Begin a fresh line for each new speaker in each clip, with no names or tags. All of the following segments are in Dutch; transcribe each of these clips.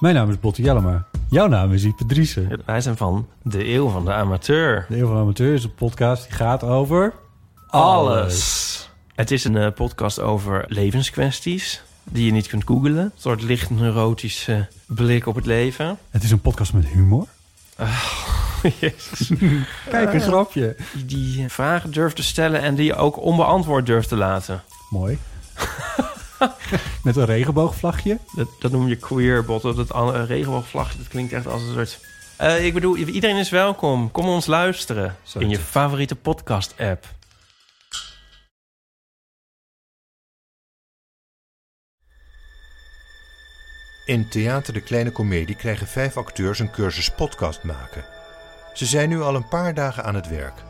Mijn naam is Botte Jellema. Jouw naam is Ipe Driessen.
Wij zijn van de eeuw van de amateur.
De Eeuw van de Amateur is een podcast die gaat over...
Alles. Het is een eh, podcast over levenskwesties die je niet kunt googlen. Een soort licht neurotische blik op het leven.
Het is een podcast met humor.
Jezus.
Kijk, een grapje.
Die, die eh, vragen durft te stellen en die je ook onbeantwoord durft te laten.
Mooi. met een regenboogvlagje.
Dat, dat noem je queerbot of dat an- eh, regenboogvlag. Dat klinkt echt als een soort... Eh, ik bedoel, iedereen is welkom. Kom ons luisteren
Zo
in je
te-
favoriete podcast-app.
In Theater de Kleine Comedie krijgen vijf acteurs een cursus podcast maken. Ze zijn nu al een paar dagen aan het werk.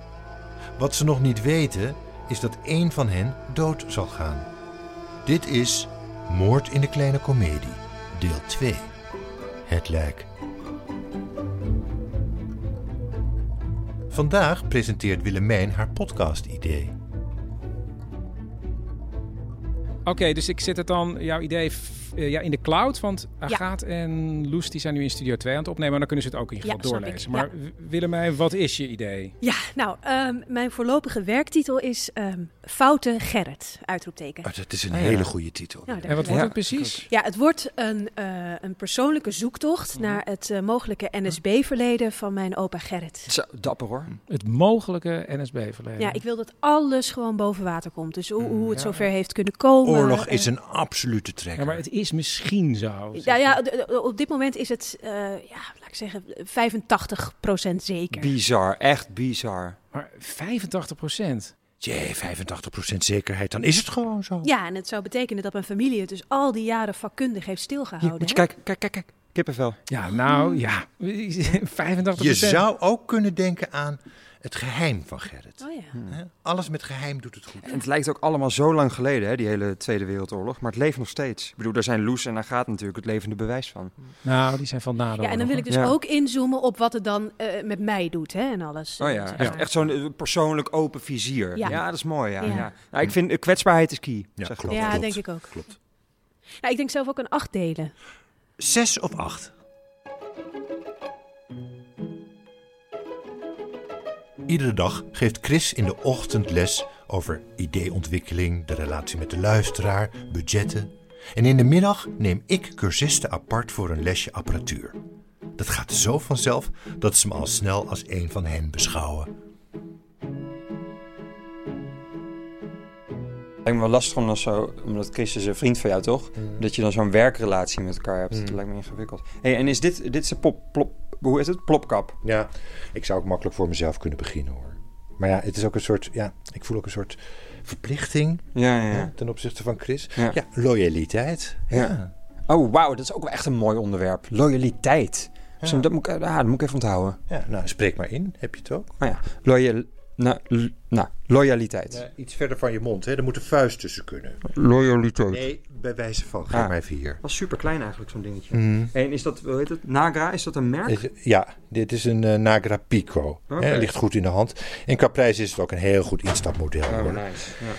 Wat ze nog niet weten is dat één van hen dood zal gaan. Dit is Moord in de Kleine Comedie, deel 2. Het lijk. Vandaag presenteert Willemijn haar podcast-idee.
Oké, dus ik zet het dan, jouw idee, f- eh, ja, in de cloud. Want Agathe en Loes die zijn nu in Studio 2 aan het opnemen. Maar dan kunnen ze het ook in ieder
Ja,
geval
snap
doorlezen.
ik, ja.
Maar W- Willemijn, wat is je idee?
Ja, nou, ehm, mijn voorlopige werktitel is ehm, Foute Gerrit,
Ah,
uitroepteken.
dat is een
ja. hele
goede titel.
Nou, daar-
En wat wordt
Ja.
het precies?
Ja, het wordt een, eh, een persoonlijke zoektocht naar het eh, mogelijke NSB-verleden van mijn opa Gerrit.
Zo, dapper hoor.
Hm.
Het mogelijke NSB-verleden.
Ja, ik wil dat alles gewoon boven water komt. Dus hoe, hoe het zover heeft kunnen komen. eh,
Oorlog
en-
is een absolute trekker.
eh, Ja, maar het is misschien zo.
Ja, ja, d- d- op dit moment is het, eh, ja, laat ik zeggen, 85% zeker.
Bizar, echt bizar.
Maar 85 procent.
Jee, 85% zekerheid, dan is het gewoon zo.
Ja, en het zou betekenen dat mijn familie het dus al die jaren vakkundig heeft stilgehouden.
Hier, moet je
hè?
kijken, kijk, kijk, kijk. Kippenvel.
Ja,
Mm.
nou ja. 85
Je zou ook kunnen denken aan het geheim van Gerrit.
Oh ja.
Hè? Alles met geheim doet het goed.
En het lijkt ook allemaal zo lang geleden, hè, die hele Tweede Wereldoorlog. Maar het leeft nog steeds. Ik bedoel, daar zijn Loes en Agathe natuurlijk het levende bewijs van.
Nou, die zijn van nadeel.
Ja, en dan wil ik dus
Ja.
ook inzoomen op wat het dan eh, met mij doet hè, en alles.
Oh
eh,
ja,
zeg
echt,
maar.
echt zo'n eh, persoonlijk open vizier.
Ja.
Ja, dat is mooi, ja.
Ja.
ja. Nou, ik vind eh, kwetsbaarheid is key.
Ja,
zeg ik
klopt.
Ja,
Klopt.
denk ik ook.
Klopt.
Nou, ik denk zelf ook een acht delen.
Zes of acht. Iedere dag geeft Chris in de ochtend les over ideeontwikkeling, de relatie met de luisteraar, budgetten. En in de middag neem ik cursisten apart voor een lesje apparatuur. Dat gaat zo vanzelf dat ze me al snel als een van hen beschouwen.
Het lijkt me wel lastig om dan zo, omdat Chris is een vriend van jou toch? Dat je dan zo'n werkrelatie met elkaar hebt. Dat lijkt me ingewikkeld. hey, en is dit, dit is de pop, plop, hoe is het? Plopkap.
Ja, ik zou ook makkelijk voor mezelf kunnen beginnen hoor. Maar ja, het is ook een soort, ja, ik voel ook een soort verplichting
Ja, ja,
hè,
ja.
ten opzichte van Chris. Ja,
Ja.
loyaliteit.
Ja. Oh, wauw, dat is ook wel echt een mooi onderwerp. Loyaliteit. Zo, dat, moet ik, ah, dat moet ik even onthouden.
Ja, nou, spreek maar in. Heb je het ook?
Nou ja, loyal, nou, l- nou, loyaliteit.
iets verder van je mond, hè? Er moet een vuist tussen kunnen.
Loyaliteit.
Nee, bij wijze van.
ga
Ga
Ah. maar
maar even hier.
Dat is super klein eigenlijk, zo'n dingetje. En is dat, hoe heet het? Nagra, is dat een merk?
Ja, dit is een eh, Nagra Pico.
Oké.
Hè, ligt goed in de hand. En qua prijs is het ook een heel goed instapmodel.
Oh,
hoor.
nice. Ja.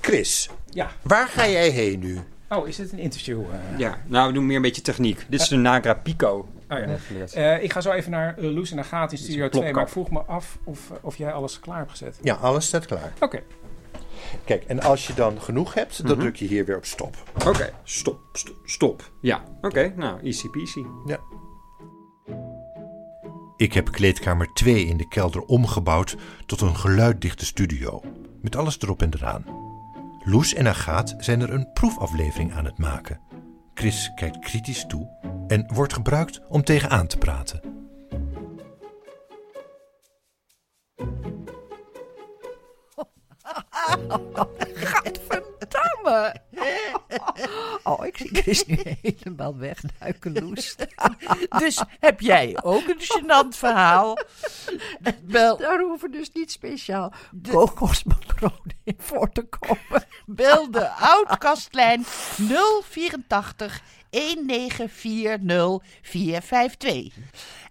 Chris,
Ja.
waar ga jij heen nu?
Oh, is dit een interview? eh?
ja, nou, we doen meer een beetje techniek. Dit is de Nagra Pico.
Oh, ja.
Geleerd.
Eh, ik ga zo even naar eh, Loes en dan gaat in Studio 2. Maar
plopkap.
ik vroeg me af of, eh, of jij alles klaar hebt gezet.
Ja, alles staat klaar.
Oké.
Kijk, en als je dan genoeg hebt, dan
Mhm.
druk je hier weer op stop.
Oké, stop, stop, stop. Ja, oké, nou, easy peasy.
Ja. Ik heb kleedkamer 2 in de kelder omgebouwd tot een geluiddichte studio. Met alles erop en eraan. Loes en Agaat zijn er een proefaflevering aan het maken. Chris kijkt kritisch toe en wordt gebruikt om tegenaan te praten.
Gadverdamme. Oh, ik Ik wist niet helemaal wegduiken, Loes. dus heb jij ook een gênant verhaal? Bel. Daar hoeven dus niet speciaal kokosmacaroni in voor te komen.
Bel de oudkastlijn 084 1940452.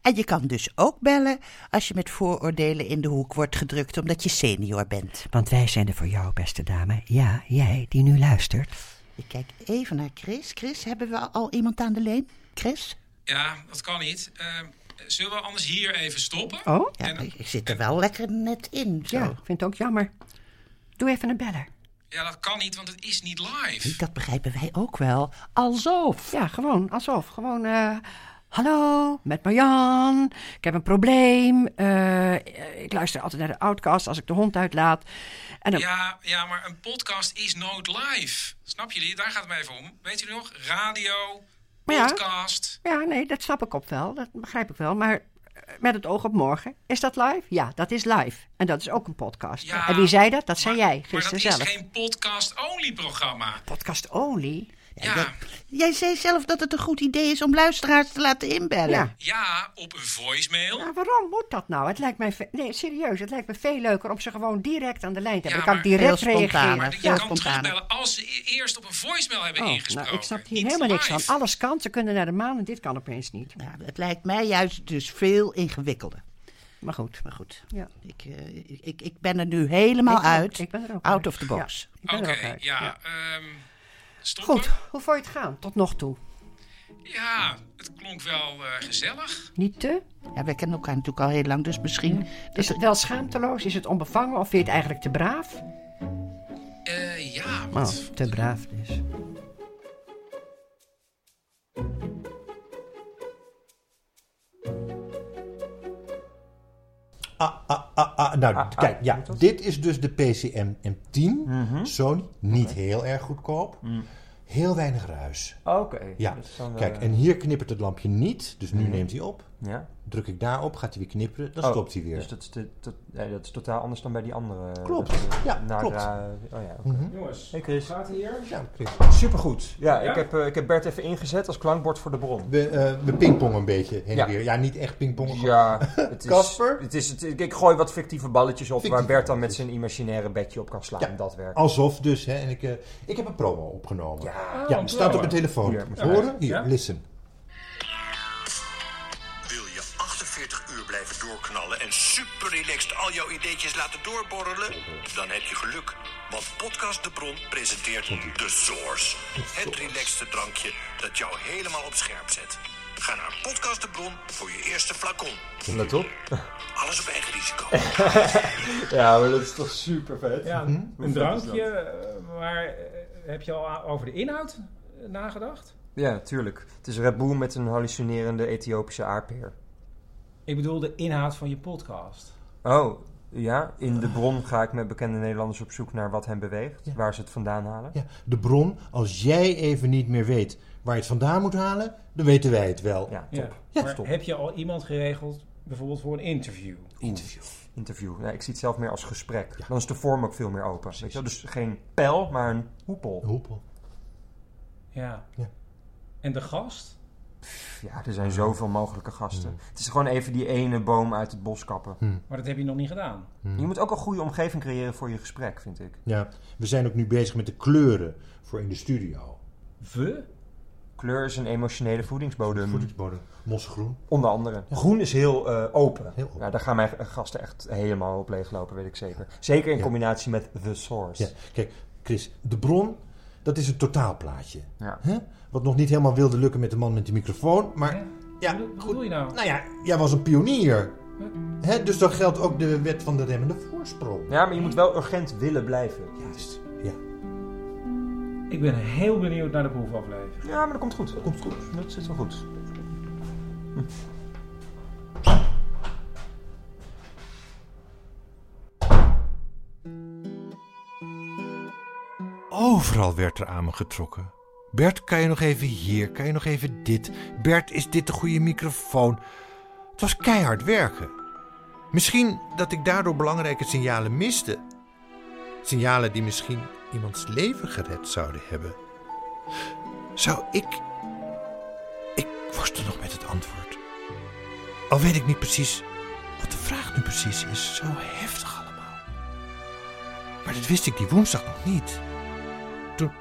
En je kan dus ook bellen als je met vooroordelen in de hoek wordt gedrukt omdat je senior bent.
Want wij zijn er voor jou, beste dame. Ja, jij die nu luistert.
Ik kijk even naar Chris. Chris, hebben we al iemand aan de lijn? Chris?
Ja, dat kan niet. Ehm, zullen we anders hier even stoppen?
Oh?
En dan-
Ik zit er wel lekker net in. Zo.
Ja, vind het ook jammer. Doe even een beller.
ja, dat kan niet, want het is niet live.
Dat begrijpen wij ook wel. Alsof.
Ja, gewoon alsof. Gewoon, eh, hallo, met Marjan. Ik heb een probleem. Eh, ik luister altijd naar de outcast als ik de hond uitlaat. En dan,
Ja, ja, maar een podcast is nooit live. Snap jullie? Daar gaat het mij even om. Weet jullie nog? Radio,
Maar ja.
podcast.
ja, nee, dat snap ik op wel. Dat begrijp ik wel. Maar eh, met het oog op morgen. Is dat live? Ja, dat is live. En dat is ook een podcast.
Ja,
en wie zei dat? Dat zei jij
Maar dat
gisteren
is
zelf.
geen podcast-only programma.
Podcast only.
Ja, ja.
Jij zei zelf dat het een goed idee is om luisteraars te laten inbellen.
Ja.
op een voicemail.
Maar waarom moet dat nou? Het lijkt mij ve- nee, serieus, het lijkt me veel leuker om ze gewoon direct aan de lijn te
Ja,
hebben. dan kan ik
maar-
direct
Heel spontaan,
reageren.
maar
Je
Ja,
kan
spontaan.
terugbellen als ze e- eerst op een voicemail hebben
Oh,
ingesproken.
nou, ik snap hier
Niet
helemaal niks van.
live.
Alles kan, ze kunnen naar de maan en dit kan opeens niet.
Nou, het lijkt mij juist dus veel ingewikkelder. Maar goed, maar goed.
Ja.
Ik, eh, ik, ik ben er nu helemaal
Ik ook,
uit.
ik ben er ook
Out
uit.
of the box.
Ik ben
Oké,
er ook uit.
ja.
Ja.
ehm, stoppen.
Goed, hoe vond je het gaan tot nog toe?
Ja, het klonk wel eh, gezellig.
Niet te?
Ja. wij kennen elkaar natuurlijk al heel lang, dus misschien...
Is het wel schaamteloos? Is het onbevangen? Of vind je het eigenlijk te braaf?
Eh, ja,
Oh,
wat...
te braaf dus.
Ah, ah, ah, ah. Nou, kijk, ja. Dit is dus de PCM M10. Sony, niet heel erg goedkoop. Heel weinig ruis.
Oké.
Ja,
dat is dan wel,
kijk,
eh,
en hier knippert het lampje niet. Dus nu neemt hij op.
Ja.
Druk ik daarop, gaat hij weer knipperen. Dan
Oh,
stopt hij weer.
Dus dat, is de- dat, nee, dat is totaal anders dan bij die andere. eh,
Klopt,
dat is de
ja,
Nagra-
klopt.
Oh ja, oké.
Jongens,
Hey Chris.
gaat hier?
Ja, Chris.
Supergoed. Ja,
Ja?
Ik, heb, eh, ik heb Bert even ingezet als klankbord voor de bron.
we, eh, we pingpongen een beetje heen
Ja.
en weer. Ja, niet echt pingpongen.
Ja, het is,
Casper?
Het is, het is- ik gooi wat fictieve balletjes op
Fictieve
waar Bert dan met zijn imaginaire bedje op kan slaan.
Ja.
Dat werkt.
Alsof dus, hè. En ik, eh, ik heb een promo opgenomen. Ja,
Oh,
het staat op
mooi.
mijn telefoon.
Hier, moet je
Horen? Hier,
Ja?
listen.
Wil je 48 uur blijven doorknallen en super relaxed al jouw ideetjes laten doorborrelen? Dan heb je geluk, want Podcast De Bron presenteert The Source. Het relaxte drankje dat jou helemaal op scherp zet. Ga naar Podcast De Bron voor je eerste flacon.
Let op.
Alles op eigen risico.
Ja, maar Oh, dat is toch super vet.
Ja, een drankje, eh, maar eh, heb je al a- over de inhoud eh, nagedacht?
Ja, tuurlijk. Het is Red Bull met een hallucinerende Ethiopische aardpeer.
Ik bedoel de inhoud van je podcast.
Oh, ja. In de bron ga ik met bekende Nederlanders op zoek naar wat hen beweegt. Waar ze het vandaan halen.
Ja, de bron, als jij even niet meer weet waar je het vandaan moet halen, dan weten wij het wel.
Ja, top.
Ja, maar heb je al iemand geregeld, bijvoorbeeld voor een interview?
Interview.
Interview. Ja, ik zie het zelf meer als gesprek. Dan is de vorm ook veel meer open. Weet je wel? Dus geen pijl, maar een hoepel.
Hoepel.
Ja.
Ja.
En de gast?
Ja, er zijn zoveel mogelijke gasten. Het is gewoon even die ene boom uit het bos kappen.
Maar dat heb je nog niet gedaan.
Je moet ook een goede omgeving creëren voor je gesprek, vind ik.
Ja, we zijn ook nu bezig met de kleuren voor in de studio.
We?
Kleur is een emotionele voedingsbodem.
Mm.
Voedingsbodem, mosgroen.
Onder andere. Groen is heel eh, open.
Heel open.
Ja, daar gaan mijn gasten echt helemaal op leeglopen, weet ik zeker. Zeker in
Ja.
combinatie met The Source.
Ja, kijk, Chris, de bron, dat is een totaalplaatje.
Ja.
Hè? Wat nog niet helemaal wilde lukken met de man met de microfoon, maar... Ja,
Wat
goed.
bedoel je nou?
Nou ja, jij was een pionier. Hè? Dus dan geldt ook de wet van de remmende voorsprong.
Ja, maar je moet wel urgent willen blijven.
Juist. Ja,
Ik ben heel benieuwd naar de proefaflevering.
Ja, maar dat komt goed. Dat komt goed. Dat zit wel goed.
Overal werd er aan me getrokken. Bert, kan je nog even hier? Kan je nog even dit? Bert, is dit de goede microfoon? Het was keihard werken. Misschien dat ik daardoor belangrijke signalen miste. Signalen die misschien iemands leven gered zouden hebben. Zou ik... Ik worstel nog met het antwoord. Al weet ik niet precies wat de vraag nu precies is. Zo heftig allemaal. Maar dat wist ik die woensdag nog niet. Toen,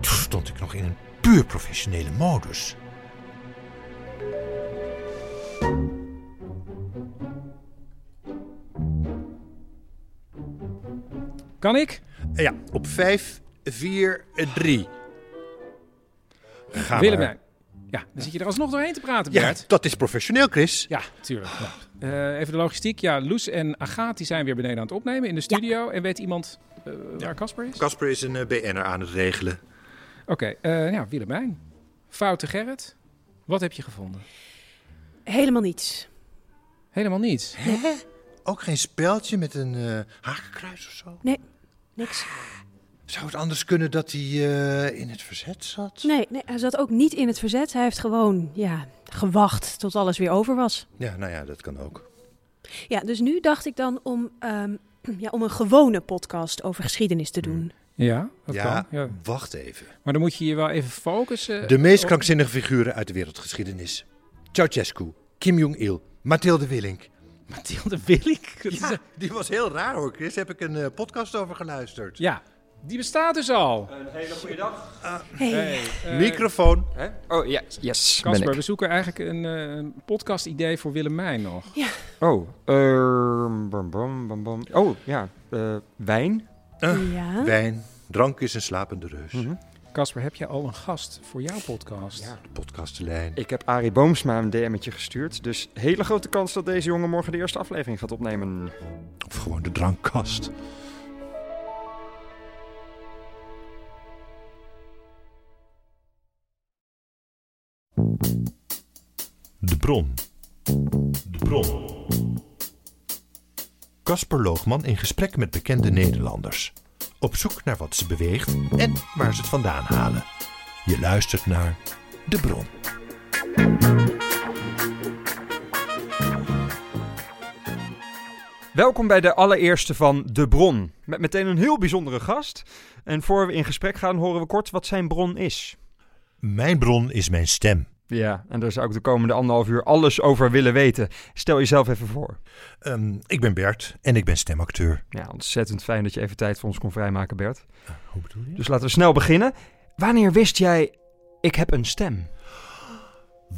toen stond ik nog in een puur professionele modus.
Kan ik?
Ja, op 5, 4, 3. Ga
Willemijn. Ja, dan zit je er alsnog doorheen te praten,
Ja,
Bert.
dat is professioneel, Chris.
Ja, tuurlijk. Eh, even de logistiek. Ja, Loes en Agathe die zijn weer beneden aan het opnemen in de studio. En weet iemand eh, waar Casper is?
Casper is een eh, BN'er aan het regelen.
Oké, eh ja, Willemijn. Foute Gerrit. Wat heb je gevonden?
Helemaal niets.
Helemaal niets?
Hè? Ook geen speldje met een eh, hakenkruis of zo?
Nee, niks.
Zou het anders kunnen dat hij eh, in het verzet zat?
Nee, nee, hij zat ook niet in het verzet. Hij heeft gewoon ja, gewacht tot alles weer over was.
Ja, nou ja, dat kan ook.
Ja, dus nu dacht ik dan om, ehm, ja, om een gewone podcast over geschiedenis te doen.
Ja, dat
ja,
kan. Ja. Eh, oh.
wacht even.
Maar dan moet je je wel even focussen.
De meest
op-
krankzinnige figuren uit de wereldgeschiedenis. Ceausescu, Kim Jong-il, Mathilde Willink.
Mathilde Willink? Ja,
die was heel raar hoor, Chris. Daar heb ik een eh, podcast over geluisterd.
Ja, die bestaat dus al.
Een hele goede dag.
Hey, eh,
Microfoon.
Oh, ja, yes. ben
Casper,
ik.
we zoeken eigenlijk een eh, podcast-idee voor Willemijn nog.
Oh, ehm, bam, bam, bam, bam. Oh, ja. eh, wijn.
Ja.
Wijn, drank is een slapende reus.
Casper, heb jij al een gast voor jouw podcast? Ja.
Podcastlijn.
Ik heb Arie Boomsma een DM'tje gestuurd. Dus hele grote kans dat deze jongen morgen de eerste aflevering gaat opnemen.
Of gewoon de drankkast. De bron. De bron. Casper Loogman in gesprek met bekende Nederlanders. Op zoek naar wat ze beweegt en waar ze het vandaan halen. Je luistert naar De Bron.
Welkom bij de allereerste van De Bron. Met meteen een heel bijzondere gast. En voor we in gesprek gaan, horen we kort wat zijn bron is.
Mijn bron is mijn stem.
Ja, en daar zou ik de komende anderhalf uur alles over willen weten. Stel jezelf even voor.
Ehm, ik ben Bert en ik ben stemacteur.
Ja, ontzettend fijn dat je even tijd voor ons kon vrijmaken, Bert.
Hoe bedoel je?
Dus laten we snel beginnen. Wanneer wist jij, ik heb een stem?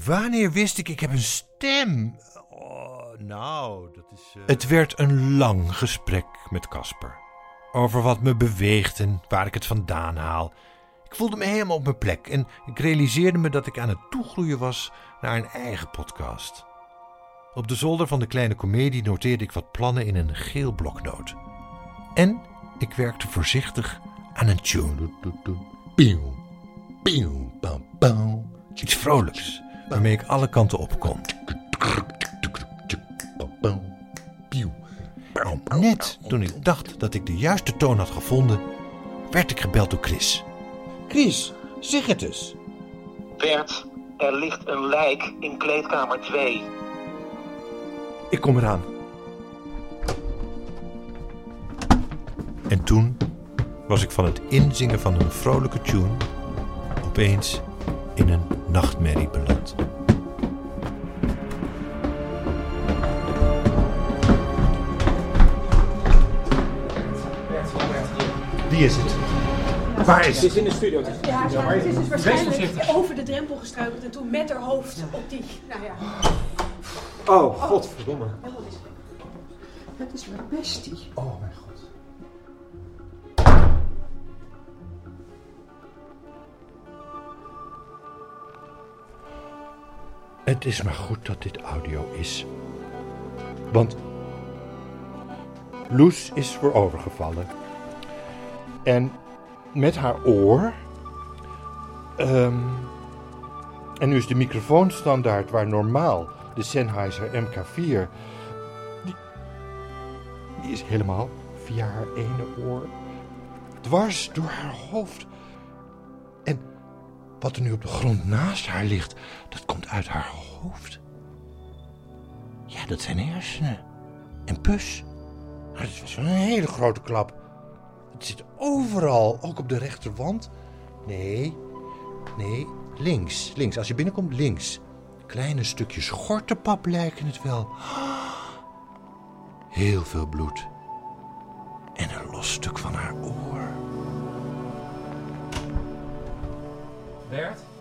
Wanneer wist ik, ik heb een stem? Oh, nou, dat is... Het werd een lang gesprek met Casper. Over wat me beweegt en waar ik het vandaan haal. Ik voelde me helemaal op mijn plek en ik realiseerde me dat ik aan het toegroeien was naar een eigen podcast. Op de zolder van de kleine komedie noteerde ik wat plannen in een geel bloknoot. En ik werkte voorzichtig aan een tune. Doet, doet, doet. Pieuw, pieuw, pam, pam. Iets vrolijks, waarmee ik alle kanten op kon. Net toen ik dacht dat ik de juiste toon had gevonden, werd ik gebeld door Chris. Chris, zeg het eens.
Bert, er ligt een lijk in kleedkamer 2.
Ik kom eraan. En toen was ik van het inzingen van een vrolijke tune opeens in een nachtmerrie beland. Wie is het? Waar is het?
in de studio.
Ja, ze is dus waarschijnlijk over de drempel gestruikeld en toen met haar hoofd op die. Nou ja.
Oh, godverdomme.
Dat is mijn bestie.
Oh, mijn god.
Het is maar goed dat dit audio is. Want Loes is voorovergevallen. En met haar oor. ehm, en nu is de microfoonstandaard waar normaal de Sennheiser MK4. Die, die is helemaal via haar ene oor dwars door haar hoofd. En wat er nu op de grond naast haar ligt, dat komt uit haar hoofd. Ja, dat zijn hersenen. En pus. Maar het was wel een hele grote klap. Het zit overal, ook op de rechterwand. Nee, Nee, links. Links. Als je binnenkomt, links. Kleine stukjes gortenpap lijken het wel. Heel veel bloed. En een los stuk van haar oor.
Bert?